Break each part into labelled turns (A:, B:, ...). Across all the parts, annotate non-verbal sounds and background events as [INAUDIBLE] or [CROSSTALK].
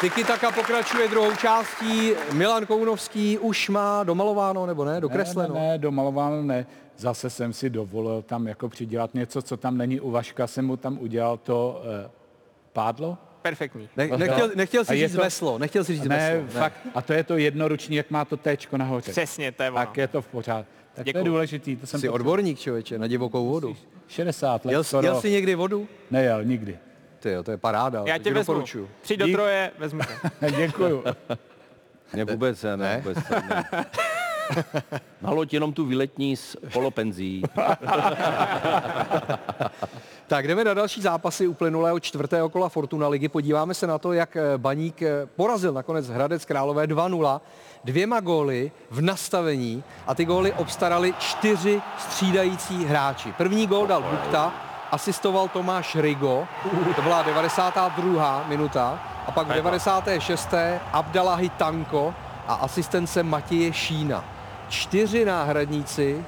A: Tiki Taka pokračuje druhou částí. Milan Kounovský už má domalováno, nebo ne? no? Dokresleno.
B: Ne, ne, ne, domalováno ne. Zase jsem si dovolil tam jako přidělat něco, co tam není u Vaška, jsem mu tam udělal to eh, pádlo.
A: Perfektní. Ne, nechtěl, nechtěl
B: A
A: si
B: je
A: říct
B: to-
A: veslo, nechtěl si říct
B: ne,
A: veslo.
B: fakt. A to je to jednoruční, jak má to téčko nahoře.
C: Přesně, to je ono.
B: Tak je to v pořád. Tak to
C: Děkuju.
B: je důležitý, to jsem
A: Jsi
B: potřeboval.
A: odborník, člověče, na divokou vodu.
B: 60 let
A: Jel,
B: skoro.
A: jel jsi někdy vodu?
B: Nejel,
D: [LAUGHS]
B: nikdy.
A: Ty jo, to je paráda.
C: Já
A: to
C: tě
A: ti
C: vezmu.
A: doporučuju.
C: Přijď do
B: Dík.
C: troje, vezmu tě.
B: Děkuju.
E: Ne, vůbec ne, ne, vůbec ne. ne. [LAUGHS] Naloď jenom tu výletní s [LAUGHS] polopenzí.
A: Tak jdeme na další zápasy uplynulého čtvrtého kola Fortuna ligy. Podíváme se na to, jak eh, Baník eh, porazil nakonec Hradec Králové 2-0 dvěma góly v nastavení a ty góly obstarali čtyři střídající hráči. První gól dal Bukta, asistoval Tomáš Rigo, to byla 92. minuta a pak v 96. Abdalahi Tanko a asistence Matěje Šína. Čtyři náhradníci,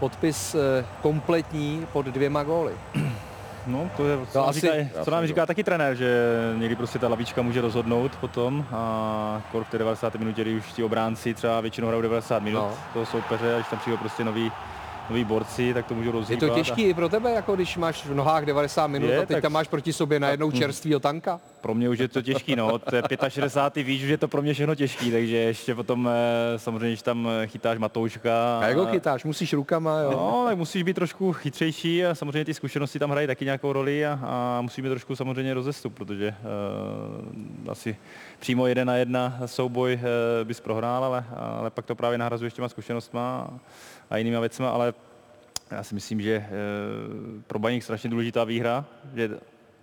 A: podpis eh, kompletní pod dvěma góly.
F: No, to je, co,
A: To
F: nám,
A: asi-
F: asi, říká, co nám říká taky trenér, že někdy prostě ta lavička může rozhodnout potom a kor v té 90. minutě, kdy už ti obránci třeba většinou hrajou 90 minut
A: No.
F: no. toho soupeře, a když tam přijdou prostě noví, noví borci, tak to můžou
A: Je
F: rozhýbat.
A: to těžký i pro tebe, jako když máš v nohách 90 minut
F: Je,
A: a teď
F: tak-
A: tam máš proti sobě najednou čerstvýho tanka.
F: A pro mě už je to těžký, no, to je 65. víš, že je to pro mě všechno těžký, takže ještě potom eh, samozřejmě, když tam eh, chytáš Matouška.
A: A jak ho chytáš? Musíš rukama, jo?
F: No, tak musíš být trošku chytřejší a samozřejmě ty zkušenosti tam hrají taky nějakou roli a, a musí být trošku samozřejmě rozestup, protože uh, asi přímo jeden na jedna souboj uh, bys prohrál, ale, ale pak to právě nahrazuješ těma zkušenostma a- a jinýma věcma, ale já si myslím, že uh, pro Baník strašně důležitá výhra, že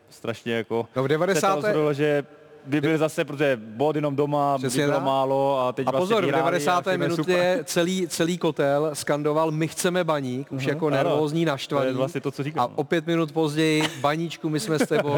F: strašně jako
A: No v 90.
F: se to rozhodlo, že by byl zase, protože bod jenom doma, by
A: Přesně
F: bylo
A: tak.
F: málo a teď
A: A
F: vlastně
A: pozor, v
F: vyhráli a
A: 90.
F: všechno je super.
A: minutě [LAUGHS] celý, celý kotel skandoval my chceme baník, už jako
F: ano.
A: nervózní
F: To
A: naštvaný.
F: je vlastně to, co říkám,
A: A
F: no.
A: o pět minut později, baníčku, my jsme s
F: [LAUGHS]
A: tebou.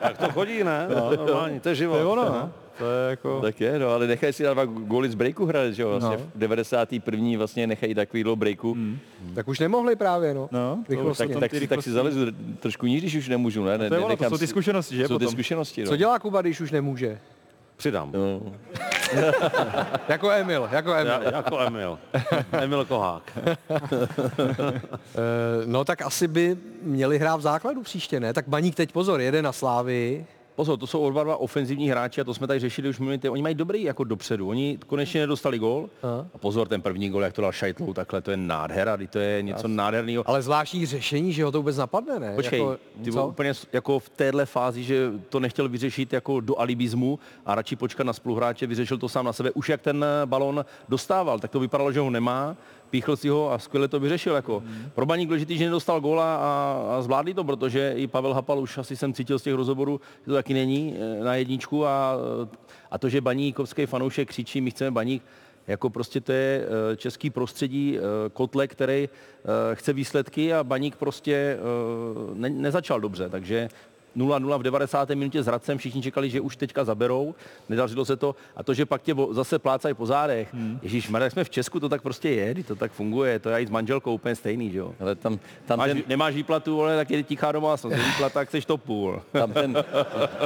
E: Tak to chodí, [LAUGHS] ne? No, normálně, to je život.
F: To je ono, no. to je jako...
E: Tak je, no, ale nechají si dát dva góly z breaku hrát, že jo? Vlastně no. v 91. vlastně nechají takový dlouho breaku. Mm.
A: tak už nemohli právě, no.
F: No,
A: Rychlost.
E: Tak,
F: Potom
E: tak,
F: ty
E: si, tak si
F: rychlosti.
E: zalezu trošku níž, když už nemůžu, ne? ne
F: to je ono, to
E: nenechám
F: jsou ty
E: si-
F: zkušenosti, že,
E: Jsou ty
F: potom?
E: zkušenosti, no.
A: Co dělá Kuba, když už nemůže?
G: Přidám.
E: No.
A: Jako Emil, jako Emil.
G: Já, jako Emil. Emil Kohák.
A: [LAUGHS] Eh, No tak asi by měli hrát v základu příště, ne? Tak baník teď pozor, jede na Slávy.
E: Pozor, to jsou oba dva ofenzivní hráči a to jsme tady řešili už minulý týden. Oni mají dobrý jako dopředu. Oni konečně nedostali gól. A pozor, ten první gól, jak to dal Šajtlou, takhle to je nádhera, kdy to je něco nádherného.
A: Ale zvláštní řešení, že ho to vůbec napadne, ne?
E: Počkej,
A: Jako,
E: ty
A: co?
E: byl úplně s- jako v téhle fázi, že to nechtěl vyřešit jako do alibismu a radši počkat na spoluhráče, vyřešil to sám na sebe. Už jak ten eh, balon dostával, tak to vypadalo, že ho nemá, píchl si ho a skvěle to vyřešil. Jako.
A: Mhm.
E: Pro Baník důležitý, že nedostal góla a, a zvládli to, protože i Pavel Hapal už asi jsem cítil z těch rozhovorů, že to taky není eh, na jedničku a, eh, a to, že baníkovský fanoušek křičí, my chceme Baník, jako prostě to je eh, český prostředí, eh, kotle, který eh, chce výsledky a Baník prostě eh, ne, nezačal dobře, takže 0-0 v 90. minutě s Hradcem, všichni čekali, že už teďka zaberou, nedařilo se to a to, že pak tě bo- zase plácají po zádech, hmm. Ježíš, jak jsme v Česku, to tak prostě je, kdy to tak funguje, to je i s manželkou úplně stejný, že jo.
D: Ale tam, tam,
E: Máš,
D: ten,
E: Nemáš výplatu, ale tak je tichá domácnost, je výplata, tak seš to půl.
D: tam, ten,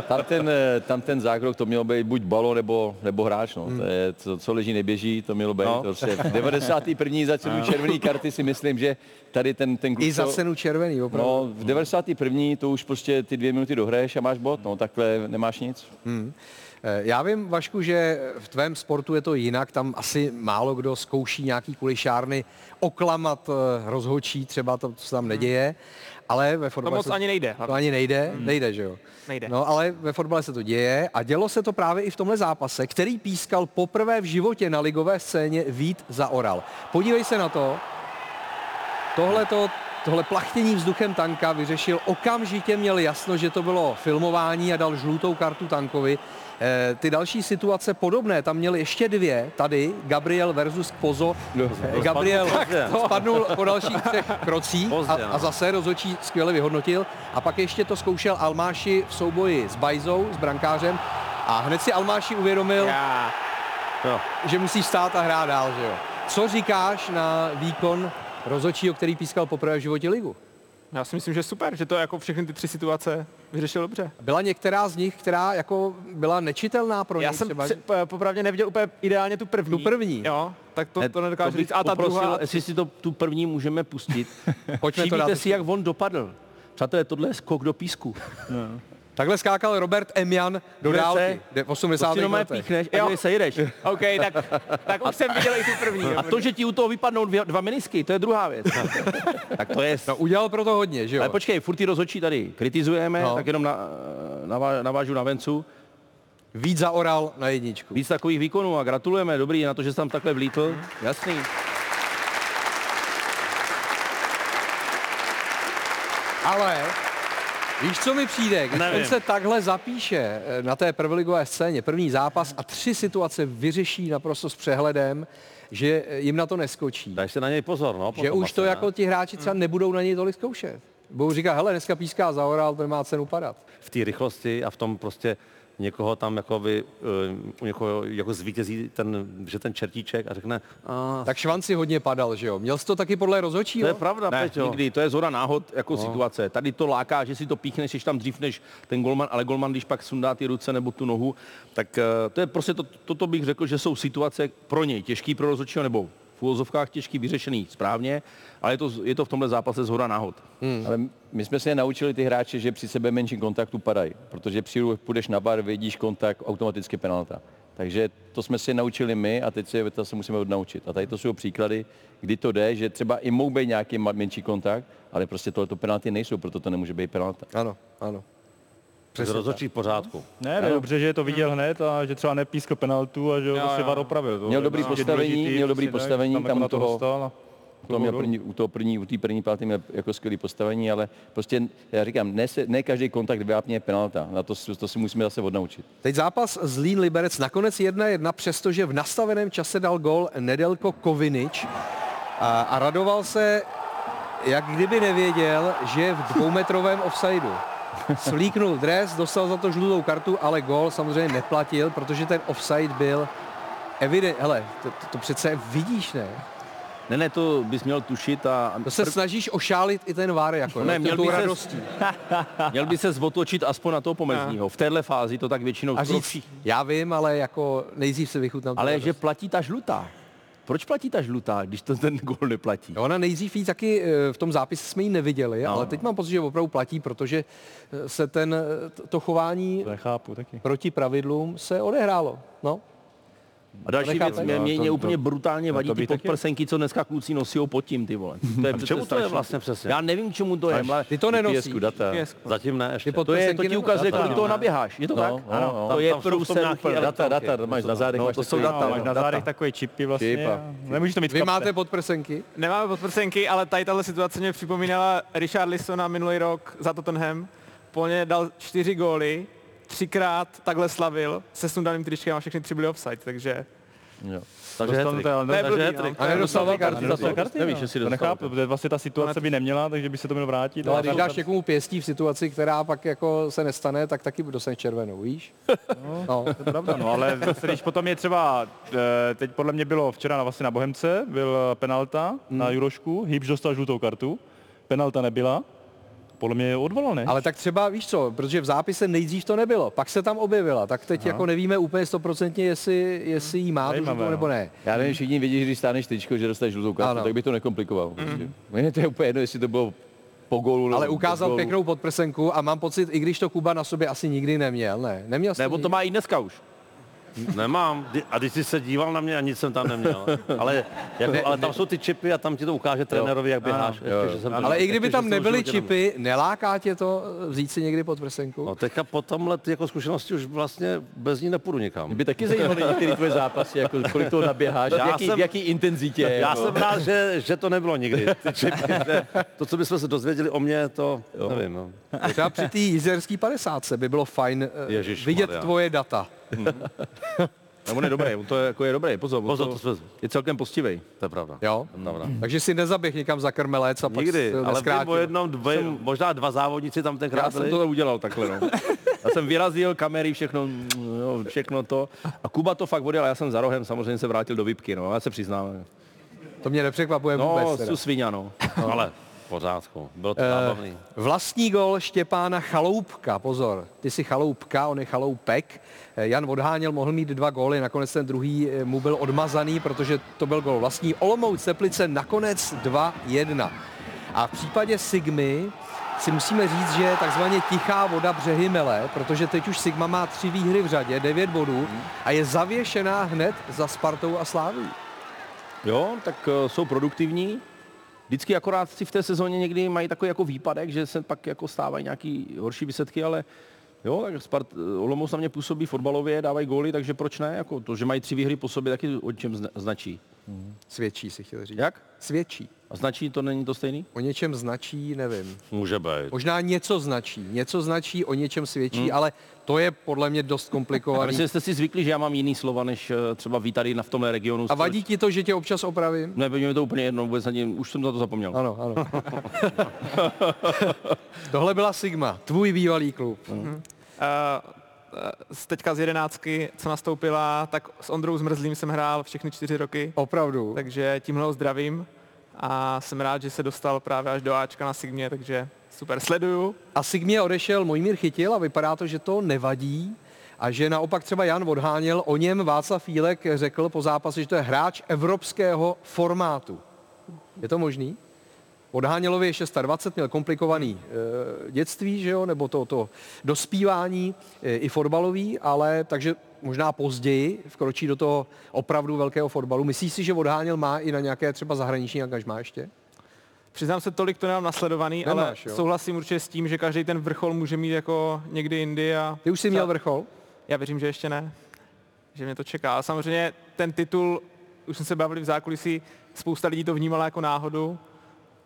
D: tam, ten, eh, tam ten zákrok, to mělo být buď balo, nebo, nebo hráč. No. To je, co, co leží, neběží, to mělo být.
E: No.
D: No. Prostě v 91. za cenu červený karty si myslím, že tady ten, ten kluk...
A: I za
D: co-
A: cenu červený, opravdu.
D: No, v 91. to už prostě ty dvě minuty dohraješ a máš bod, no takhle nemáš nic.
A: Eh, Já vím, Vašku, že v tvém sportu je to jinak, tam asi málo kdo zkouší nějaký kulišárny oklamat eh, rozhodčí, třeba to, co se tam neděje, ale ve fotbale
C: Hmm. moc
A: se-
C: ani nejde. Hmm.
A: To ani nejde, nejde, že jo?
C: Nejde.
A: No, ale ve fotbale se to děje a dělo se to právě i v tomhle zápase, který pískal poprvé v životě na ligové scéně Vít za Oral. Podívej se na to. Tohle to Tohle plachtění vzduchem tanka vyřešil okamžitě, měl jasno, že to bylo filmování a dal žlutou kartu tankovi. Eh, ty další situace podobné, tam měl ještě dvě, tady Gabriel versus Pozo.
G: No,
A: Eh, Gabriel spadnul po dalších třech krocích a,
G: Pozdě,
A: a
G: no.
A: zase rozhodčí skvěle vyhodnotil. A pak ještě to zkoušel Almáši v souboji s Bajzou, s brankářem. A hned si Almáši uvědomil,
C: Já.
A: že musíš stát a hrát dál, že jo. Co říkáš na výkon rozhodčího, který pískal poprvé v životě ligu?
C: Já si myslím, že super, že to jako všechny ty tři situace vyřešil dobře.
A: Byla některá z nich, která jako byla nečitelná pro
C: Já
A: něj
C: jsem
A: třeba?
C: pře- po- popravdě neviděl úplně ideálně tu první.
A: Tu první.
C: Jo, tak to,
E: Ne,
C: to nedokážu
E: bych
C: říct. A ta
E: poprosil,
C: druhá,
E: jestli si to, tu první můžeme pustit.
A: [LAUGHS] Pojďme to dát
E: Všimněte
A: do
E: si, jak on dopadl. Přátelé, tohle je skok do písku.
A: Takhle skákal Robert Emjan do
E: Durece.
A: dálky de- v 80.
E: Prostě jenom je
A: letech.
E: píchneš a se jedeš.
A: [LAUGHS]
C: OK, tak, tak už jsem viděl i tu první. jo.
E: A to, že ti u toho vypadnou dvě, dva menisky, to je druhá [LAUGHS] věc. tak to je...
A: No, udělal proto hodně, že jo?
E: Ale počkej, furt ty rozhodčí tady kritizujeme,
A: No.
E: tak jenom na, navá- navážu na vencu.
A: Víc zaoral na jedničku.
E: Víc takových výkonů a gratulujeme, dobrý, na to, že jsi tam takhle vlítl. Jasný.
A: Ale víš, co mi přijde? Když on se takhle zapíše eh, na té prvoligové scéně, první zápas a tři situace vyřeší naprosto s přehledem, že eh, jim na to neskočí.
G: Dáš se na něj pozor, no.
A: Že
G: potom
A: už to
G: asi, ne?
A: jako ti hráči třeba nebudou na něj tolik zkoušet. Budou říkat, hele, dneska píská zaoral, to nemá cenu padat.
G: V té rychlosti a v tom prostě někoho tam jakoby, eh, u někoho jako zvítězí ten, že ten čertíček a řekne, a,
A: Tak Švan si hodně padal, že jo? Měl jsi to taky podle rozhodčího?
G: to je pravda,
E: Ne,
G: Peťo.
E: nikdy, to je zhora náhod jako situace. Tady to láká, že si to píchneš, jsi tam dřív než ten golman, ale golman, když pak sundá ty ruce nebo tu nohu, tak eh, to je prostě, to, toto bych řekl, že jsou situace pro něj těžký pro rozhodčího nebo v úvozovkách těžký, vyřešený správně, ale je to, je to v tomhle zápase zhora náhod.
D: Ale my jsme se naučili ty hráče, že při sebe menším kontaktu padají, protože přijdu, půjdeš na bar, vidíš kontakt, automaticky penalta. Takže to jsme si naučili my a teď se, to se musíme odnaučit. A tady to jsou příklady, kdy to jde, že třeba i mohou být nějaký ma- menší kontakt, ale prostě tohleto penalty nejsou, proto to nemůže být penalta.
A: Ano, ano.
G: Přes rozhodčí v pořádku.
F: Ne, ne, dobře, že to viděl hned a že třeba nepískl penaltu a že ho
C: Jo,
F: zase
C: jo.
F: VAR opravil. To
D: Měl
F: je
D: dobrý
F: prostě
D: postavení,
F: důležitý,
D: měl dobrý
F: prostě tak,
D: postavení,
F: jako
D: tam
F: na
D: u
F: to
D: toho-
F: dostal a-
D: To No, měl první, u toho první, u té první penalty měl jako skvělé postavení, ale prostě já říkám, ne, se, ne každý kontakt vyvápně je penalta. Na to, s- to si musíme zase odnaučit.
A: Teď zápas Zlín Liberec nakonec 1-1, přestože v nastaveném čase dal gol Nedelko Kovinič a, a radoval se, jak kdyby nevěděl, že je v dvoumetrovém offsideu. Slíknul dres, dostal za to žlutou kartu, ale gol samozřejmě neplatil, protože ten offside byl evident. Hele, to, to, to přece vidíš, ne?
E: Ne, ne, to bys měl tušit a
A: To se snažíš ošálit i ten vár, jako
E: Ne,
A: jo,
E: měl
A: tou
E: by ses-
A: radostí.
E: měl by se zotočit aspoň na toho pomezního. V téhle fázi to tak většinou
A: A
E: skoro
A: říct, já vím, ale jako nejdřív se vychutnám. tu
E: Ale
A: radost.
E: že platí ta žlutá. Proč platí ta žlutá, když to ten gol neplatí?
A: Jo, Ona nejdřív jí taky eh, v tom zápise jsme ji neviděli, no. ale teď mám pocit, že opravdu platí, protože eh, se ten, eh, t- to chování
F: To nechápu taky.
A: proti pravidlům se odehrálo. No.
E: A další
A: necháte?
E: věc, mě,
F: No,
E: mě,
F: to-
E: mě
F: to-
E: úplně brutálně vadí
F: to
E: ty
F: by taky-
E: podprsenky, co dneska kluci nosí pod tím, ty vole. To je přece
G: čemu to je
E: strašný.
G: vlastně přesně?
E: Já nevím, k čemu to je, ale
A: Ty to nenosíš.
G: GPSku data. Zatím ne ještě.
A: Ty pod-
E: to, je,
A: prsenky
E: to ti
A: nebo-
E: ukazuje,
A: data,
E: kolik
A: no,
E: toho
A: ne.
E: naběháš. Je to tak?
D: ano, ano.
E: To
G: Tam-
E: je
G: tam jsou v tom
E: průser
G: nějaký
E: úplně.
D: Data, data, máš na zádech.
G: No,
D: máš
G: to jsou
D: takový-
G: data,
F: Máš na zádech takové čipy vlastně.
D: Čipa.
F: a Nemůžeš to mít v
A: Vy
F: kapse.
A: máte podprsenky?
C: Nemáme podprsenky, ale tady tahle situace mě připomínala Richard Lissona minulý rok za Tottenham. Po ně dal čtyři góly, třikrát takhle slavil, se sundaným tričkem a všechny tři byly offside, takže...
D: Jo.
G: Takže
F: Dostal
G: hat-trick.
F: to, ale-
C: Ne,
G: Takže
C: blbý, no.
G: hat-trick.
A: A nedostává karty.
F: A Dostal karty,
G: Nevíš,
F: no.
G: jestli
F: to
G: dostal.
F: nechápu, protože vlastně ta situace by neměla, takže by se to mělo vrátit.
A: No,
F: ale
A: ale když
F: to-
A: dáš někomu pěstí v situaci, která pak jako se nestane, tak taky dostaneš červenou, víš? No.
F: To je pravda, no, ale zase, když potom je třeba, eh, teď podle mě bylo včera na, vlastně na Bohemce, byl penalta na Jurošku, Hybš dostal žlutou kartu, penalta nebyla, podle mě je odvolal, ne?
A: [LAUGHS] Ale tak třeba, víš co, protože v zápise nejdřív to nebylo, pak se tam objevila, tak teď jako nevíme úplně stoprocentně, jestli, jestli jí má tu
F: Zajímavé,
A: žlutou
F: no.
A: nebo ne.
D: Já nevím, všichni vědí, že když stáneš tyčko, že dostaneš žlutou kartu,
A: Ano.
D: tak by to nekomplikoval.
G: Mhm.
D: Mm. Mně to je úplně jedno, jestli to bylo po golu. nebo
A: Ale
D: bez
A: ukázal
D: gólu.
A: pěknou podprsenku a mám pocit, i když to Kuba na sobě asi nikdy neměl, ne? Neměl jsi
E: Nebo
A: nikdy?
E: to má i dneska už.
G: Nemám. Ty- A když jsi se díval na mě a nic jsem tam neměl. Ale, jako, ale tam jsou ty čipy a tam ti to ukáže trenérovi, jak běháš. Ještě, že jsem to-
A: Ale i kdyby
G: ještě, že
A: tam
G: jsem to v
A: nebyly
G: životě neměl.
A: čipy, neláká tě to vzít si někdy pod prsenku?
G: No teďka po tomhle ty jako zkušenosti už vlastně bez ní nepůjdu
D: Mě
G: nikam.
D: by taky zajímaly některé tvoje zápasy, jako kolik toho
B: [LAUGHS]
D: naběháš,
G: Já
D: v jaký,
G: jsem-
D: v jaký intenzitě.
G: Já
D: jako.
G: jsem rád, že, že to nebylo nikdy. Ty čipy, ne. To, co bychom se dozvěděli o mě, to nevím. No.
A: Třeba při té jizerský 50 by bylo fajn eh,
G: Ježišmarja.
A: vidět tvoje data.
E: Ne, No, on je dobrý, on to je, jako je dobrý, pozor, on
G: Pozor, to jsme,
E: je celkem postivej.
G: to je pravda.
A: Jo?
G: Dobrá.
A: Takže si nezaběh někam za krmelec a pak
G: Nikdy,
A: si to
G: ale vím o
A: nezkrátil.
G: jednom, dvojím, možná dva závodníci tam
E: Já
G: tenkrát
E: jsem
G: byli.
E: to udělal takhle, no. Já jsem vyrazil kamery, všechno, mm, jo, všechno to. A Kuba to fakt odjel, a já jsem za rohem samozřejmě se vrátil do Vipky, no, já se přiznám.
A: To mě nepřekvapuje
E: No,
A: vůbec. teda.
E: jsou svině, no. Eh,
G: Ale V pořádku, bylo to zábavný.
A: Vlastní gol Štěpána Chaloupka, pozor, ty jsi Chaloupka, on je Chaloupek. Eh, Jan Odháněl mohl mít dva góly, nakonec ten druhý eh, mu byl odmazaný, protože to byl gol vlastní. Olomouc Teplice nakonec 2-1. A v případě Sigmy si musíme říct, že je takzvaně tichá voda břehy mele, protože teď už Sigma má tři výhry v řadě, devět bodů a je zavěšená hned za Spartou a Sláví.
E: Jo, tak eh, jsou produktivní. Vždycky akorát si v té sezóně někdy mají takový jako výpadek, že se pak jako stávají nějaký horší výsledky, ale jo, tak Spart, eh, Olomouc na mě působí fotbalově, dávají góly, takže proč ne? Jako to, že mají tři výhry po sobě, taky o čem zna- značí.
A: Svědčí, si chtěl říct.
E: Jak?
A: Svědčí.
E: A značí to není to stejný?
A: O něčem značí, nevím.
G: Může být.
A: Možná něco značí, něco značí, o něčem svědčí, hmm. ale to je podle mě dost
E: Já
A: komplikovaný.
E: myslím, že jste si zvykli, že já mám jiný slova, než eh, třeba vy tady na, v tomhle regionu.
A: A vadí ti to, že tě občas opravím?
E: Ne, mi to úplně jedno, vůbec ani, už jsem za to zapomněl.
A: Ano, ano. [LAUGHS] Tohle byla Sigma, tvůj bývalý klub.
C: Uh, z teďka z jedenáctky, co nastoupila, tak s Ondrou Zmrzlým jsem hrál všechny čtyři roky,
A: Opravdu.
C: takže tímhle ho zdravím a jsem rád, že se dostal právě až do Ačka na Sigmě, takže super, sleduju.
A: A Sigmě odešel Mojmír Chytil a vypadá to, že to nevadí a že naopak třeba Jan odháněl, o něm Václav Fílek řekl po zápase, že to je hráč evropského formátu. Je to možný? Odhánělovi je 26, měl komplikovaný e, dětství, že jo, nebo to, to dospívání e, i fotbalový, ale takže možná později vkročí do toho opravdu velkého fotbalu. Myslíš si, že Odháněl má i na nějaké třeba zahraniční angažmá ještě?
C: Přiznám se, tolik to nemám nasledovaný,
A: Nemáš,
C: ale
A: jo?
C: souhlasím určitě s tím, že každý ten vrchol může mít jako někdy jindy a
A: Ty už jsi měl vrchol?
C: já věřím, že ještě ne, že mě to čeká. A samozřejmě ten titul, už jsme se bavili v zákulisí, spousta lidí to vnímala jako náhodu,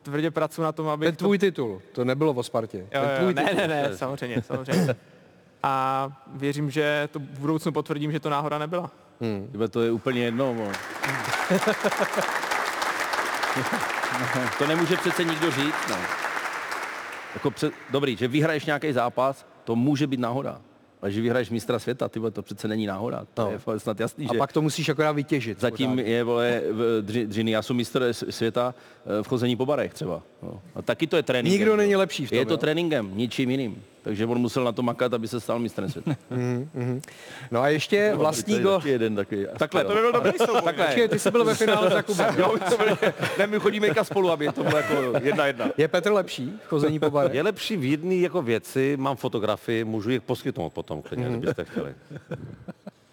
C: tvrdě pracuji na tom, aby
A: Ten tvůj titul, to nebylo o Spartě.
C: Jo,
A: Ten
C: jo,
A: tvůj prostě.
C: ne,
A: titul.
C: ne, ne, samozřejmě,
A: [LAUGHS]
C: samozřejmě. A věřím, že to v budoucnu potvrdím, že to náhoda nebyla.
E: Tebe to je úplně jedno. Mo. [LAUGHS] to nemůže přece nikdo říct. No. Jako před, dobrý, že vyhraješ nějaký zápas, to může být náhoda. Ale že vyhraješ mistra světa, ty vole, to přece není náhoda. To je fakt snad jasný,
A: A
E: že
A: pak to musíš akorát vytěžit.
E: zatím je vole, v- dři, dřiny. Já jsem mistr s- světa eh, v chození po barech třeba. No. A taky to je trénink.
A: Nikdo není lepší v tom,
E: Je to
A: jo?
E: tréninkem, ničím jiným. Takže on musel na to makat, aby se stal mistrem světa.
A: No a ještě vlastní
E: To je
A: gol.
E: taky jeden takový.
C: Takhle, to by byl dobrý souboj.
A: Počkej, ty jsi byl ve finále za Kubem.
E: Jo, už to byli, ne, my chodíme jka spolu, aby [LAUGHS] to bylo jako jedna jedna.
A: Je Petr lepší v chození po barech?
G: Je lepší v jedné jako věci, mám fotografii, můžu je poskytnout potom klidně, kdybyste chtěli.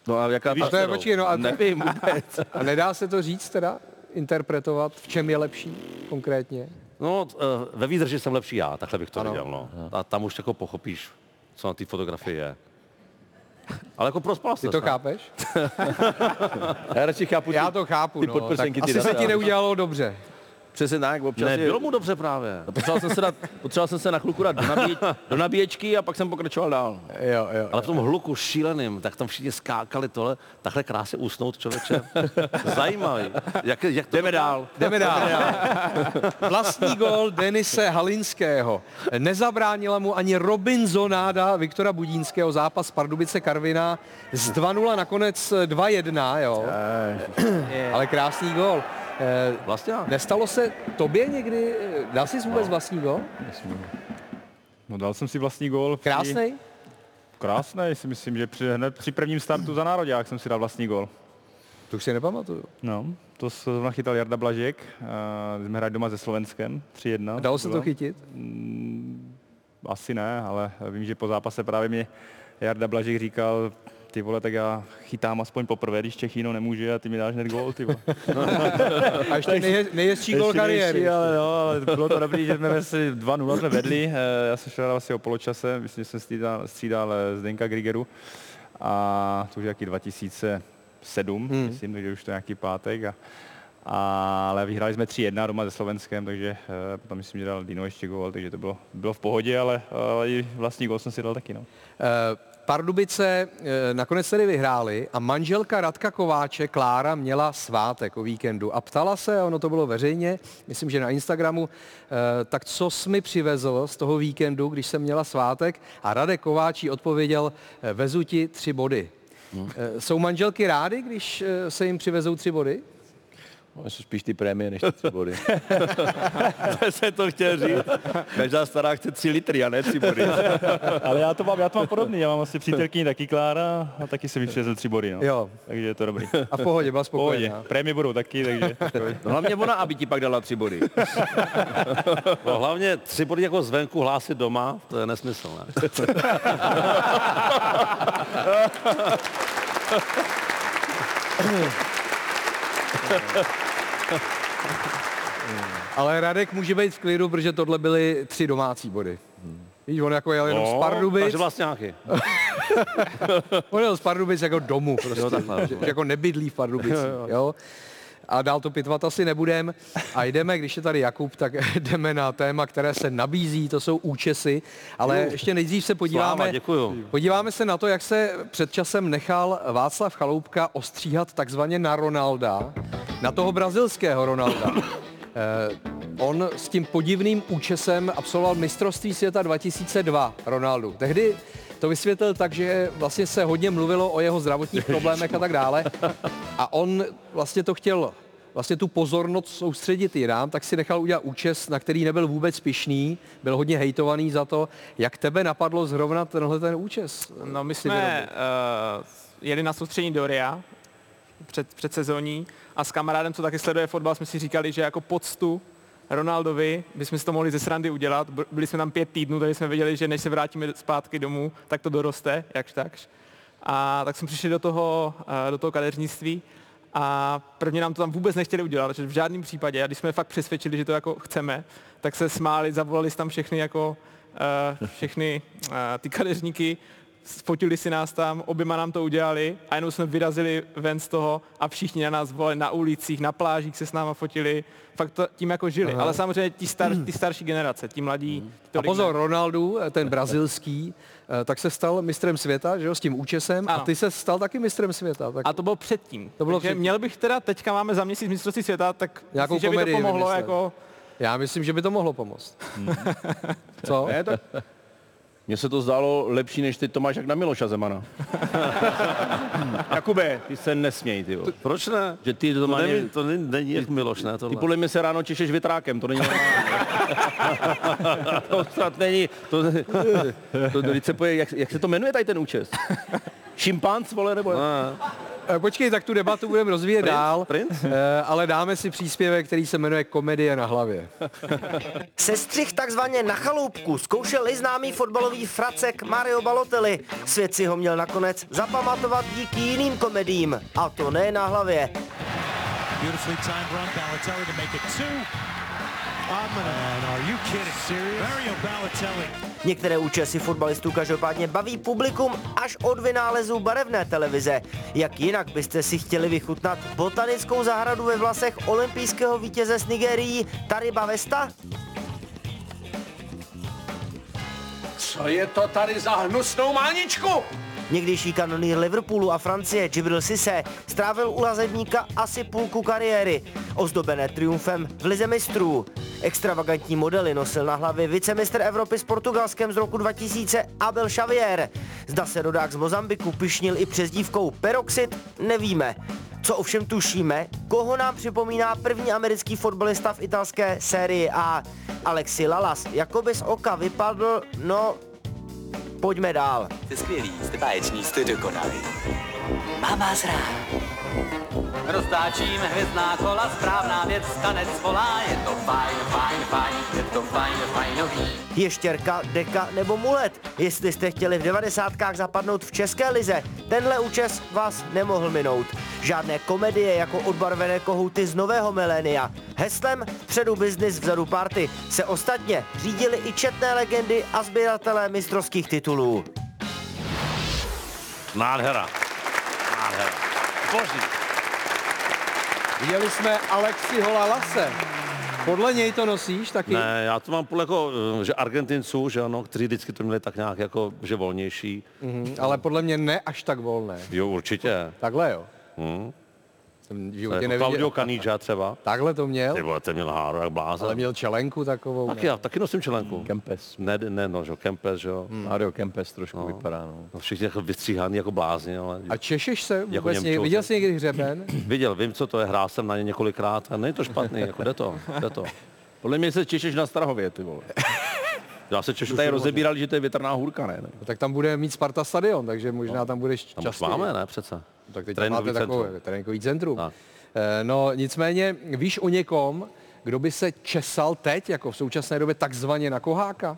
E: No a jaká
A: A Mhm. to je, počkej, no a,
E: Nevím vůbec.
A: a nedá se to říct teda? interpretovat, v čem je lepší konkrétně.
G: [LAUGHS] No, t- eh, ve výdrži jsem lepší já, takhle bych to viděl, no. A tam už jako pochopíš, co na té fotografii je. Ale jako prospal
A: Ty
G: jsi.
A: to
G: ne?
A: chápeš?
E: Já radši chápu,
A: Já to chápu,
E: ty
A: no, tak
E: podprsenky, ty
A: asi se
E: data.
A: ti neudělalo dobře.
E: přesně tak, občas
G: Ne,
E: je,
G: bylo mu dobře právě.
E: No, potřeboval, jsem se dát, potřeboval jsem se na chvilku dát do, nabíje,
G: [LAUGHS]
E: do nabíječky a pak jsem pokračoval dál.
A: Jo, jo.
G: Ale v tom hluku šíleným, tak tam všichni skákali tohle, takhle krásně usnout
E: [LAUGHS]
G: člověče. Zajímavý. Jak, jak to Jdeme dál.
A: Jdeme dál. Vlastní gol Denise Halinského. Nezabránila mu ani Robinsonáda Viktora Budínského zápas Pardubice Karvina z 2-0 nakonec 2-1, jo. Ale krásný gol. Eh,
G: Vlastně já.
A: Nestalo se tobě někdy, eh, dal jsi vůbec vlastní gol?
F: No dal jsem si vlastní gól. při-
A: Krásnej?
F: Krásný, si myslím, že při, hned při prvním startu za národák jsem si dal vlastní gol.
A: To už si nepamatuju.
F: No, to se zrovna chytal Jarda Blažek, uh, jsme hráli doma se Slovenskem, 3-1.
A: Dalo se to
F: bylo.
A: chytit?
F: Asi ne, ale vím, že po zápase právě mě Jarda Blažek říkal, ty vole, tak já chytám aspoň poprvé, když Čechino nemůže a ty mi dáš hned gól, ty vole.
A: A ještě nejhe- nejhezčí gol
F: Ještě nejší,
A: kariéry.
F: Ale, no, ale bylo to dobrý, že jsme si 2-0 jsme vedli. Eh, Já jsem šel asi o poločase, myslím, že jsem střídal, střídal eh, Zdenka Grigeru. A to už je nějaký 2007, hmm. myslím, takže už to je nějaký pátek. A, a, ale vyhráli jsme 3-1 doma se Slovenskem, takže eh, potom myslím, že dal Dino ještě gól, takže to bylo, bylo v pohodě, ale, ale i vlastní gól jsem si dal taky. No.
A: Eh, Pardubice eh, nakonec tedy vyhráli a manželka Radka Kováče, Klára, měla svátek o víkendu a ptala se, a ono to bylo veřejně, myslím, že na Instagramu, eh, tak co jsi mi přivezl z toho víkendu, když jsem měla svátek a Radek Kováčí odpověděl, eh, vezu ti tři body. Eh, Jsou manželky rády, když eh, se jim přivezou tři body?
D: No, jsou spíš ty prémie než ty tři body.
E: Já [LAUGHS] jsem to chtěl říct. Každá stará chce 3 litry, a ne 3 body.
F: Ale já to mám, já to mám podobný, já mám vlastně přítelkyni taky Klára a taky jsem jí přivezl tři body, no.
A: Jo.
F: Takže je to dobrý.
A: [LAUGHS] A v pohodě, byla
F: Pohodě,
A: spokojená.
F: prémie budou taky, takže
E: No, hlavně ona, aby ti pak dala 3 body.
G: No, hlavně tři body jako zvenku hlásit doma, to je nesmysl, ne?
A: Ale Radek může být v klidu, protože tohle byly tři domácí body. Víš, on jako jel jenom
E: No,
A: z Pardubic,
G: Takže vlastně nějaký.
A: on jel z Pardubic jako domů prostě, jo, takhle, [LAUGHS] že, že jako nebydlí v Pardubicích, jo, A dál to pitvat asi nebudem. A jdeme, když je tady Jakub, tak [LAUGHS] jdeme na téma, které se nabízí, to jsou účesy. Ale ještě nejdřív se podíváme,
G: Sláva, děkuju.
A: podíváme se na to, jak se před časem nechal Václav Chaloupka ostříhat takzvaně na Ronalda, na toho brazilského Ronalda. Eh, On s tím podivným účesem absolvoval mistrovství světa 2002 Ronaldu. Tehdy to vysvětlil tak, že vlastně se hodně mluvilo o jeho zdravotních problémech a tak dále. A on vlastně to chtěl vlastně tu pozornost soustředit jinám, tak si nechal udělat účes, na který nebyl vůbec pišný, byl hodně hejtovaný za to. Jak tebe napadlo zrovna tenhle ten účes?
C: No my
A: si
C: jsme
A: vyrobit?
C: uh, jeli na soustředění do Ria před, před sezóní a s kamarádem, co taky sleduje fotbal, jsme si říkali, že jako poctu Ronaldovi bychom si to mohli ze srandy udělat. Br- Byli jsme tam pět týdnů, takže jsme věděli, že než se vrátíme zpátky domů, tak to doroste, jakž takž. A tak jsme přišli do toho, eh, do toho kadeřnictví a prvně nám to tam vůbec nechtěli udělat, že v žádném případě, a když jsme fakt přesvědčili, že to jako chceme, tak se smáli, zavolali si tam všechny jako eh, všechny eh, ty kadeřníky, fotili si nás tam, oběma nám to udělali a jenom jsme vyrazili ven z toho a všichni na nás volali na ulicích, na plážích se s náma fotili, fakt to, tím jako žili, ale samozřejmě ti star, ty starší generace, ti mladí.
A: Mhm. A
C: tolik ne.
A: pozor, Ronaldu, eh, ten brazilský, eh, tak se stal mistrem světa, že jo, s tím účesem a
C: Ano.
A: ty se stal taky mistrem světa. Tak...
C: A to bylo předtím.
A: To bylo
C: Takže
A: předtím.
C: měl bych teda, teďka máme za měsíc mistrovství světa, tak
A: Nějakou
C: myslím, že by to
A: komedii
C: pomohlo
A: vymyslet.
C: jako...
A: Já myslím, že by to mohlo pomoct. [LAUGHS] Co?
E: Hmm. Ne, tak... Mně se to zdálo lepší, než ty Tomáš jak na Miloša Zemana. Jakube, ty se nesměj, ty jo.
G: Proč ne?
E: Že ty
G: To
E: doma
G: není, to není, není jak Miloš, ne?
E: Ty
G: Tohle.
E: podle mě se ráno češeš větrákem, to není
D: [LAUGHS]
E: normální. To snad není. To, to, to, se poje, jak, jak, se to jmenuje tady ten účest? Šimpanz, vole, nebo...
D: No.
A: Eh, Počkej, tak tu debatu budeme rozvíjet dál,
G: princ?
A: eh, ale dáme si příspěvek, který se jmenuje Komedie na hlavě.
H: Sestřih takzvaně na chaloupku zkoušel i známý fotbalový fracek Mario Balotelli. Svět si ho měl nakonec zapamatovat díky jiným komediím, a to ne na hlavě.
I: Beautifully timed run, Balotelli to make it two. And are you kidding? Serious? Mario Balotelli.
H: Některé účesy fotbalistů každopádně baví publikum až od vynálezu barevné televize. Jak jinak byste si chtěli vychutnat botanickou zahradu ve vlasech olympijského vítěze z Nigerií Tariba Vesta?
J: Co je to tady za hnusnou máničku?
H: Někdejší kanonýr Liverpoolu a Francie Gibril Sisse strávil u lazebníka asi půlku kariéry, ozdobené triumfem v Lize mistrů. Extravagantní modely nosil na hlavě vicemistr Evropy s Portugalskem z roku 2000 Abel Xavier. Zda se rodák z Mozambiku pišnil i přezdívkou Peroxid, nevíme. Co ovšem tušíme, koho nám připomíná první americký fotbalista v italské sérii A. Alexi Lalas jako by z oka vypadl, no pojďme dál.
J: Jste skvělí, jste báječní, jste dokonalí. Mám vás rád. Roztáčím hvězdná kola, správná věc, tanec volá, je to fajn, fajn, fajn, je to fajn, fajnový.
H: ještěrka, deka nebo mulet. Jestli jste chtěli v 90. zapadnout v České lize, tenhle účes vás nemohl minout. Žádné komedie jako odbarvené kohouty z nového milénia. Heslem předu biznis vzadu party se ostatně řídili i četné legendy a sběratelé mistrovských titulů.
G: Nádhera. Nádhera. Boží.
A: Viděli jsme Alexiho Lalase. Podle něj to nosíš taky?
G: Ne, já to mám podle jako, eh, že Argentinců, že ano, kteří vždycky to měli tak nějak jako, že volnější.
E: Hmm.
A: Mhm, Ale podle mě ne až tak volné.
G: Jo, určitě.
E: Hmm.
A: Takhle jo. Jsem v
E: Jako
A: životě neviděl.
E: Claudio Kaníča třeba.
A: Takhle to měl,
E: Ty vole, ten měl háru jak
A: ale
E: blázen.
A: měl čelenku takovou.
E: Tak já taky nosím členku.
D: Kempes.
E: Ne, ne, no, že jo, Kempes, že jo.
K: Hmm.
D: Mario Kempes trošku no. vypadá, no.
E: No, všichni jako vystříhaný jako blázni, ale
A: A češeš se vůbec
E: Němčou,
A: někdy?
E: tak.
A: Viděl jsi někdy hřeben?
E: viděl, vím, co to je, hrál jsem na ně několikrát a není to špatný, jako jde to, jde to.
K: Podle mě se češeš na Strahově, ty vole.
E: [LAUGHS] Já se češu,
K: Tady rozebírali, že to je větrná hůrka, ne? ne.
A: No, tak tam bude mít Sparta stadion, takže možná tam budeš
E: Tam už
A: častěji.
E: máme, ne, přece.
A: Tak teď
E: Tréninkový
A: máte
E: centrum.
A: takové tréninkový centrum.
E: Tak.
A: Eh, No nicméně, víš o někom, kdo by se česal teď, jako v současné době, takzvaně na koháka?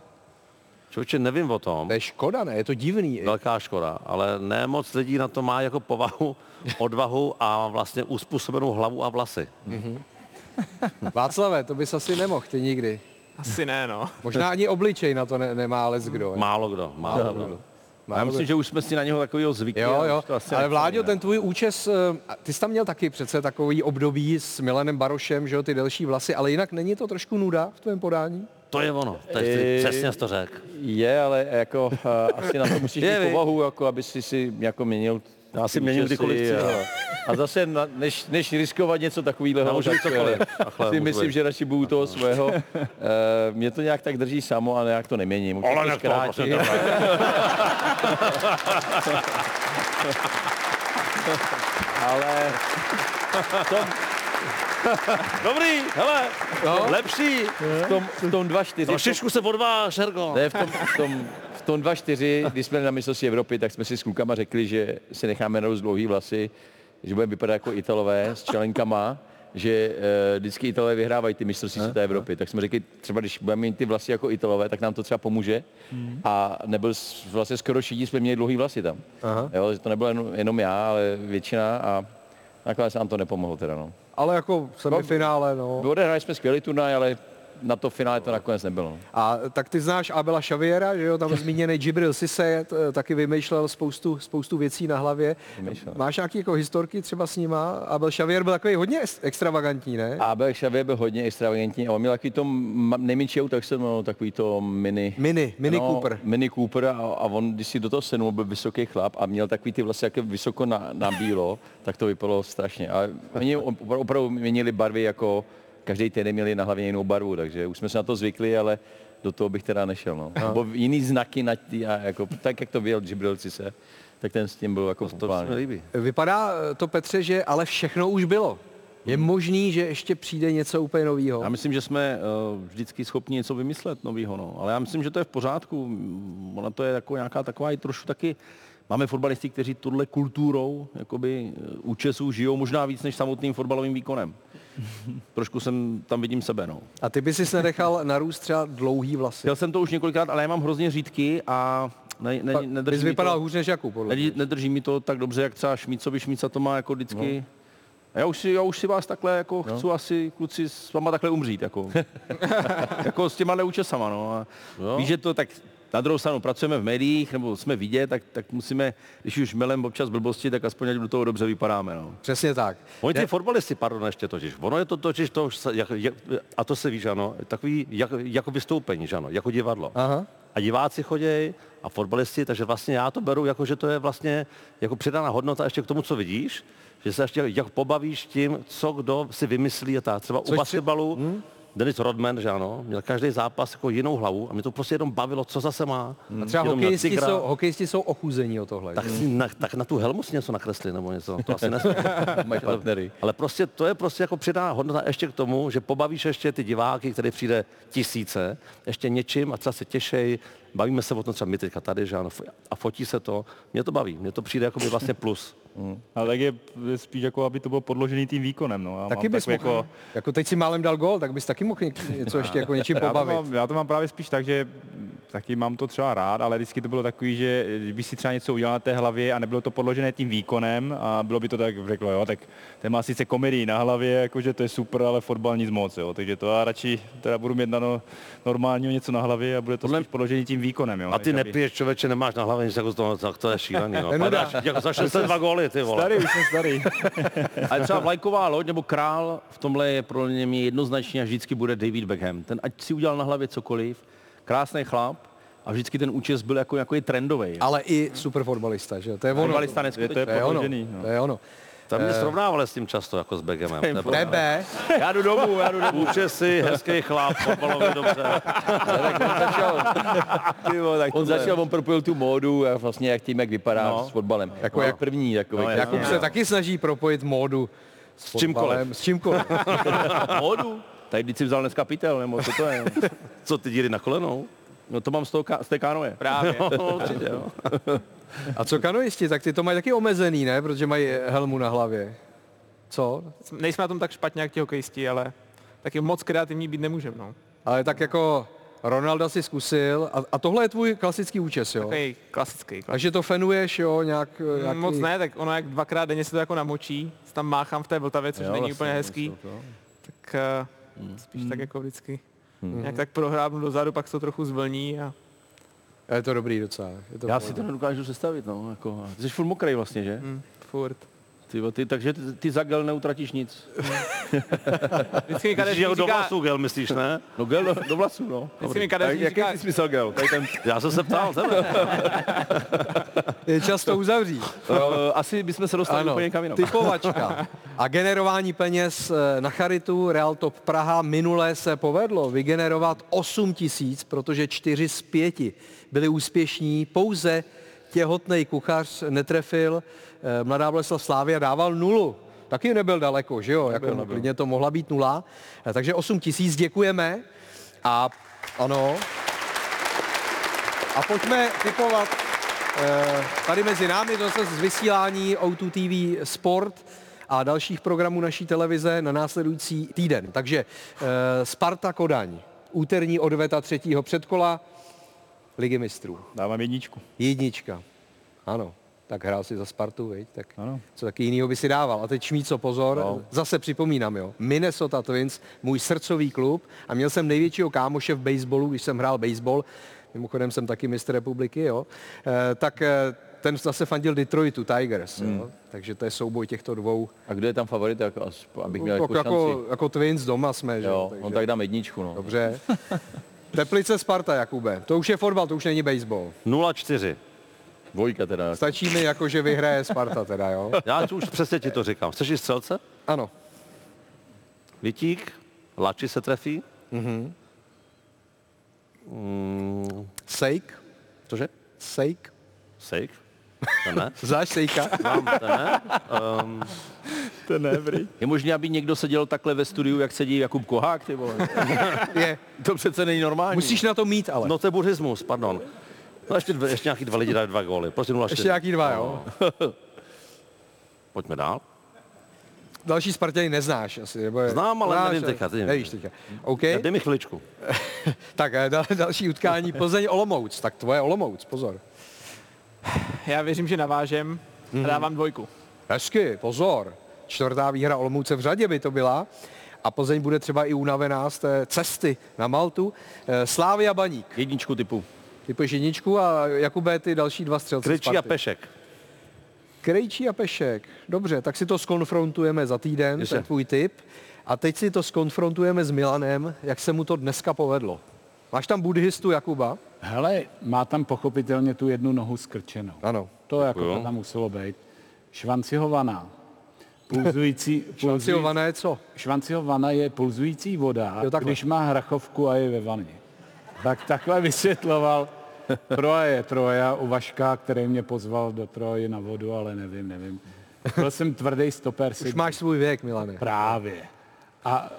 E: Člověče, nevím o tom.
A: To je škoda, ne? Je to divný.
K: No.
E: Velká škoda, ale ne moc lidí na to má jako povahu, odvahu a vlastně uspůsobenou hlavu a vlasy.
K: No.
A: Václave, to bys asi nemohl ty nikdy.
C: Asi ne, no.
A: [LAUGHS] Možná ani obličej na to ne- nemá les kdo.
E: Málo kdo, málo kdo.
A: Málo
K: Já
A: kdo.
K: myslím, že už jsme si na něho takového zvykli.
A: Jo,
K: a už
A: jo,
K: to asi
A: ale
K: nechceme,
A: Vláďo,
K: ne.
A: ten tvůj účes, eh, a ty jsi tam měl taky přece takový období s Milanem Barošem, že jo, ty delší vlasy, ale jinak není to trošku nuda v tvém podání?
E: To je ono, to je, ty, přesně jsi to řekl.
D: Je, ale jako eh, asi na to musíš
E: Je,
D: mít
E: vy.
D: povahu, jako aby si si jako měnil
E: Já si
D: ty
E: měním
D: účesy
E: kdykoliv chci,
D: a-
E: no.
D: A zase, na, než, než riskovat něco
E: Já
D: takového,
E: můžu
D: tak
E: být cokoliv.
D: eh,
E: A chleba
D: si
E: můžu
D: myslím,
E: být.
D: že radši budu toho svého. Eh, Mě to nějak tak drží samo a nějak to neměním. Už
E: Ale
D: to
E: nech to, prostě
D: zkrátí.
E: prosím tebe.
D: Ale
E: Dobrý, hele, lepší.
D: v tom, v tom 2-4
E: Trošičku No. se odváš, Hergo.
D: Ne, v tom, v tom, v tom 2-4, když jsme na mistrovství Evropy, tak jsme si s klukama řekli, že si necháme narůst dlouhý vlasy, že budeme vypadat jako Italové s čelenkama, že uh, vždycky Italové vyhrávají ty mistrovství světa Evropy. Tak jsme řekli, třeba když budeme mít ty vlasy jako Italové, tak nám to třeba pomůže.
E: Hmm.
D: A nebyl s- vlastně skoro všichni jsme měli dlouhý vlasy tam. Jo, že to nebylo jenom, jenom já, ale většina a nakonec nám to nepomohlo teda. No.
A: Ale jako v semifinále, no.
D: Odehráli jsme skvělý turnaj, ale na to finále to nakonec nebylo. no.
A: A tak ty znáš Abela Xaviera, že jo, tam zmíněný Gibril Sise, t- taky vymýšlel spoustu, spoustu věcí na hlavě. Máš nějaké jako historky třeba s nima? Abel Xavier byl takový hodně ex- extravagantní, ne?
D: A byl Xavier byl hodně extravagantní a on měl takový to ma- nejmenší auto, jak se to jmenovalo, takový to mini.
A: Mini, Mini
D: no,
A: Cooper.
D: Mini Cooper a, a on, když si do toho senul, byl vysoký chlap a měl takový ty vlasy jaké vysoko na, na bílo, tak to vypadalo strašně. A oni opra- opravdu měnili barvy jako každý týden měli na hlavě jinou barvu, takže už jsme se na to zvykli, ale do toho bych teda nešel. No. Nebo jiný znaky na tý, a jako, tak jak to byl Džibrilci se, tak ten s tím byl jako
E: To se mi
D: populární.
E: líbí.
A: Vypadá eh, to, Petře, že ale všechno už bylo. Je možný, že ještě přijde něco úplně nového.
F: No.
K: Já myslím, že jsme eh, vždycky schopni něco vymyslet nového, no. ale já myslím, že to je v pořádku. Mm, Ona to je jako nějaká taková i trošku taky, máme fotbalisty, kteří tuhle kulturou jakoby, eh, účesů žijou možná víc než samotným fotbalovým výkonem. Trošku jsem, tam vidím sebe. No.
A: A ty bys si nenechal narůst třeba dlouhý vlasy.
K: Chtěl jsem to už několikrát, ale já mám hrozně řídky a ne, ne,
A: Pak bys
K: nedrží, mi
A: vypadal
K: to,
A: hůř než Jakub, podle mě.
K: nedrží, nedrží mi to tak dobře, jak třeba Šmícovi Šmíca to má jako vždycky. No. Já už, si, já už si vás takhle jako no. chci asi kluci s váma takhle umřít. Jako, jako s těma neúčesama. No. A no. Víš, že to tak na druhou stranu pracujeme v médiích, nebo jsme vidět, tak, tak musíme, když už melem občas blbosti, tak aspoň ať do toho dobře vypadáme. No.
A: Přesně tak.
E: Oni ty fotbalisti, pardon, ještě totiž. Ono je to totiž to, už se- jak, jak, a to se ví, že ano, takový jak, jako vystoupení, že ano, jako divadlo.
A: Aha.
E: A diváci chodějí a fotbalisti, takže vlastně já to beru jako, že to je vlastně jako přidaná hodnota ještě k tomu, co vidíš, že se ještě jak pobavíš tím, co kdo si vymyslí a tak. Třeba u basketbalu,
A: Hm?
E: Denis Rodman, že ano, měl každý zápas jako jinou hlavu a mě to prostě jenom bavilo, co zase má.
A: A třeba
E: Jenom na
A: hokejisti
E: tygra.
A: jsou, hokejisti jsou ochuzení o tohle.
E: Tak, si na, tak na tu helmu si něco nakresli nebo něco, to asi ne.
D: [LAUGHS] Mají partnery.
E: Ale prostě to je prostě jako přidaná hodnota ještě k tomu, že pobavíš ještě ty diváky, které přijde tisíce, ještě něčím a třeba se těšej, bavíme se o tom třeba my teďka tady, že ano, f- a fotí se to, mě to baví, mě to přijde jako by vlastně plus.
F: Ale tak je p- spíš jako, aby to bylo podložený tím výkonem. No. A
A: Taky
F: mám
A: bys
F: takový
A: mohl, jako... jako teď si málem dal gol, tak bys taky mohl něk- něco ještě jako něčím
F: [LAUGHS] já to,
A: pobavit.
F: mám, já to mám právě spíš tak, že taky mám to třeba rád, ale vždycky to bylo takový, že když si třeba něco udělal na té hlavě a nebylo to podložené tím výkonem a bylo by to tak, řeklo, jo, tak ten má sice komedii na hlavě, jakože to je super, ale fotbal nic moc, jo, takže to já radši teda budu mít na no, normálního něco na hlavě a bude to spíš podložené tím výkonem, jo.
E: A ty
F: než aby-
E: nepiješ člověče, nemáš na hlavě nic jako z toho, tak to je šílený.
D: [LAUGHS]
E: No.
A: nuda.
E: Padáš, jako za 62 góly, ty vole.
F: Starý, už jsem
E: [LAUGHS]
F: starý.
K: Ale třeba vlajková loď nebo král v tomhle je pro mě jednoznačně a vždycky bude David Beckham. Ten ať si udělal na hlavě cokoliv, krásný chlap a vždycky ten účes byl jako, jako je trendový.
A: Ale i super fotbalista, že jo? To je ono.
K: Fotbalista
F: Je to je
K: neskutečný.
A: to je ono.
F: podložený, no.
A: To je ono.
G: Tam mě srovnávali s tím často, jako s Begemem. Nebo,
A: Tebe?
G: já jdu domů, já jdu domů. Účesy, hezký chlap, fotbalový [LAUGHS] dobře.
A: Jako
D: On začal, on propojil tu módu a vlastně jak tím, jak vypadá no. s fotbalem. Jako no. jak první, jako no,
A: Jakub se taky snaží propojit módu s čímkoliv. S čímkoliv.
E: Módu. Tady když si vzal dneska pytel, nebo co to je?
G: [LAUGHS] Co ty díry na kolenou?
E: No to mám z, toho, ka- z té kánoje.
C: Právě.
E: No, určitě, no.
A: A co kanoisti, tak ty to mají taky omezený, ne? Protože mají helmu na hlavě. Co?
C: Nejsme na tom tak špatně, jak ti hokejisti, ale taky moc kreativní být nemůžeme, no.
A: Ale tak jako Ronalda si zkusil a, a tohle je tvůj klasický účes, jo?
C: Takový klasický. klasický.
A: Takže to fenuješ, jo, nějak... nějaký...
C: Mm, Moc ne, tak ono jak dvakrát denně se to jako namočí, se tam máchám v té vltavě, což jo, není
E: vlastně,
C: úplně hezký. Tak uh, spíš
A: Hmm.
C: tak jako vždycky. Nějak tak prohrábnu dozadu, pak se to trochu zvlní a
A: A Je to dobrý docela. Je to
E: Já
A: v
E: si to
A: pohodě.
E: nedokážu sestavit, no. Jako, ty jsi furt mokrý vlastně, že?
G: Hmm.
C: hm, furt.
E: Ty, jo, ty, takže ty, ty za gel neutratíš nic.
C: Vždycky mi
G: Když jel
C: kadeřník
G: do
C: říká,
G: vlasů, gel, myslíš, ne?
E: No gel do, do vlasů, no.
C: vždycky mi
E: Tak,
C: kadeřník
E: jaký
C: říká,
E: jsi smysl gel? Tady ten,
G: Já jsem se ptal, tebe.
A: Je čas to uzavřít.
E: uh, asi bychom se dostali
A: Ano,
E: úplně někam jinam.
A: typovačka. A generování peněz eh, na charitu Real Top Praha minulé se povedlo vygenerovat 8 tisíc, protože 4 z 5 byli úspěšní. Pouze těhotný kuchař netrefil, eh, mladá Boleslav Slávia dával nulu. Taky nebyl daleko, že jo? Jako, Klidně to mohla být nula. Eh, Takže 8 tisíc děkujeme. A ano. A pojďme typovat eh, tady mezi námi zase z vysílání O2 TV Sport a dalších programů naší televize na následující týden. Takže eh, Sparta Kodaň, úterní odveta třetího předkola Ligy mistrů.
F: Dávám jedničku.
A: Jednička. Ano. Tak hrál si za Spartu, viď? Tak
F: Ano.
A: co taky jinýho by si dával. A teď Šmíco, pozor, no. zase připomínám, jo. Minnesota Twins, můj srdcový klub a měl jsem největšího kámoše v baseballu, když jsem hrál baseball, mimochodem jsem taky mistr republiky, jo, e, tak e, ten zase fandil Detroitu Tigers, mm.
D: Hmm.
A: jo. Takže to je souboj těchto dvou.
D: A kdo je tam favorit, jako, aspo- abych měl
A: Jako,
D: jako
A: jako,
D: šanci?
A: jako Twins doma jsme, že
D: Jo,
A: Takže,
D: no tak dám jedničku, no.
A: Dobře. [LAUGHS] Teplice Sparta, Jakube. To už je fotbal, to už není baseball.
G: 0-4.
D: Dvojka teda.
A: Stačí mi jako, že vyhraje Sparta teda, jo?
G: Já tu už přesně ti to říkám. Chceš i střelce?
A: Ano.
G: Vitík? Lači se trefí?
E: Mhm.
A: Sejk?
G: Cože?
A: Sejk?
G: Mm, Sejk? To ne?
A: Znáš Sejka?
G: Mám, to ne?
E: [LAUGHS] Je možné, aby někdo seděl takhle ve studiu, jak sedí Jakub Kohák,
G: [LAUGHS]
E: ty vole.
A: [LAUGHS] Je.
E: To přece není
A: [LAUGHS]
E: normální.
A: Musíš na to mít ale.
G: No to je buddhismus, pardon. No ještě, dvě- ještě nějaký dva lidi dají dva góly. Prostě 0-4.
A: Ještě nějaký dva, jo.
G: Pojďme dál.
A: Další Spartěny neznáš asi. Nebo je...
G: Znám, ale
A: Znáš,
G: nevím teďka, teď nevím.
A: Nevíš teďka. OK,
G: Dej mi chviličku.
A: tak eh, dal, další utkání Plzeň Olomouc. Tak tvoje Olomouc, pozor.
C: já věřím, že navážem a dávám dvojku.
A: Hezky, pozor. Čtvrtá výhra Olomouce v řadě by to byla. A Plzeň bude třeba i unavená z té cesty na Maltu. Eh, Slávia Baník.
E: Jedničku typu.
A: Ty pojď jedničku a Jakube ty další dva střelci
G: Kričí a
A: Sparty.
G: Pešek.
A: Krejčí a Pešek. Dobře, tak si to skonfrontujeme za týden, Ještě. ten tvůj tip. A teď si to skonfrontujeme s Milanem, jak se mu to dneska povedlo. Máš tam buddhistu Jakuba?
B: Hele, má tam pochopitelně tu jednu nohu skrčenou.
A: Ano.
B: To jako to tam muselo být. Švancihovaná.
A: [LAUGHS]
B: Pulzující, pulzující,
A: Silvané je co?
B: švancihovaná je pulzující voda,
A: Jo, takhle.
B: když má hrachovku a je ve vaně. Tak takhle vysvětloval Troje, Troja u Vaška, který mě pozval do Troji na vodu, ale nevím, nevím. Byl jsem tvrdý stoper.
A: Už
B: Sigma.
A: máš svůj věk, Milane.
B: Právě. A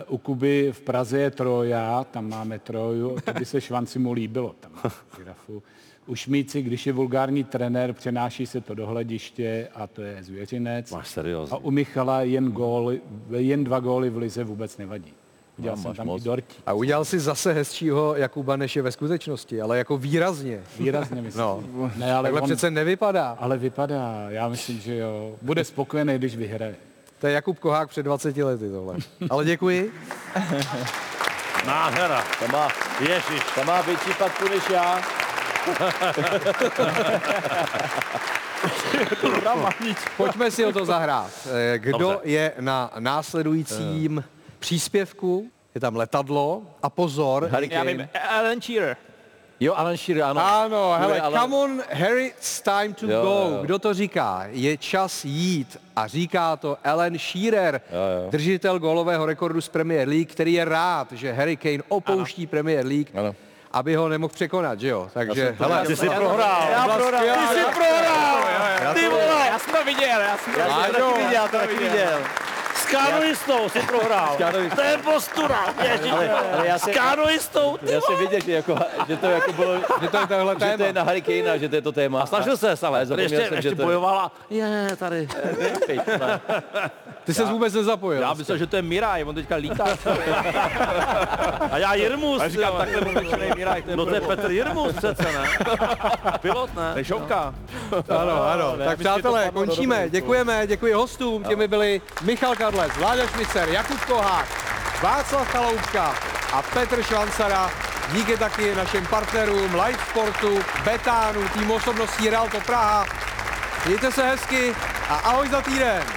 B: e, u Kuby v Praze je Troja, tam máme Troju, to by se Švanci mu líbilo, tam má žirafu. U Šmíci, když je vulgární trenér, přenáší se to do hlediště a to je zvěřinec.
G: Máš seriózně.
B: A u Michala jen, góly, jen dva góly v lize vůbec nevadí. Udělal jsem tam i dortí.
A: A udělal si zase hezčího Jakuba, než je ve skutečnosti, ale jako výrazně.
B: Výrazně myslím. No. Ne, ale,
A: Takhle
B: on,
A: přece nevypadá.
B: ale vypadá, já myslím, že jo. Bude spokojený, když vyhraje.
A: To je Jakub Kohák před 20 lety [LAUGHS] tohle. Ale děkuji.
G: Nádhera.
D: Tam má,
G: Ježiš.
D: tam má větší patku než já.
A: Pojďme si o to zahrát. Eh, Kdo
G: Dobře.
A: je na následujícím příspěvku? Je tam letadlo a pozor,
C: Já vím, Alan Shearer.
G: Jo, Alan Shearer, ano.
A: Ano, hele,
G: Jure, ale-
A: come on, Harry, it's time to
G: Jo,
A: go.
G: jo, jo.
A: Kdo to říká? Je čas jít. A říká to Alan Shearer, držitel gólového rekordu z Premier League, který je rád, že Harry Kane opouští Premier League,
D: Ano.
A: aby ho nemohl překonat, že jo? Takže, hele,
G: Ty jsi prohrál.
A: já prohrál. Ty jsi prohrál.
G: Ty vole,
C: Já jsem to viděl, já jsem to
G: já jsem to taky viděl, já to taky viděl.
J: S kanoistou si prohrál. To je postura. S kanoistou.
D: Já jsem viděl, že, jako, že to jako bylo,
A: Že to je tohle
D: že to
A: téma.
D: je na Harikejna, že to je to téma. A
G: Snažil ses, ale
D: zapomněl
G: ještě,
D: jsem, že
G: ještě
D: to je-
G: bojovala. Je, tady.
A: Ty se vůbec nezapojil.
E: Já myslel, že to je Miraj, on teďka lítá.
G: [LAUGHS] A já Jirmus.
E: A říkám,
G: jo.
E: takhle mluvíčený Miraj, to je
G: No to je Petr Jirmus přece, ne? Pilot, ne?
E: To je šovka.
A: Ano, ano. Tak přátelé, končíme. Děkujeme, děkuji hostům. Těmi byli Michal Kadlec, Vláďa Šmicer, Jakub Kohák, Václav Kalouska a Petr Švansara. Díky taky našim partnerům Live Sportu, Betánu, tým osobností Real to Praha. Mějte se hezky a ahoj za týden.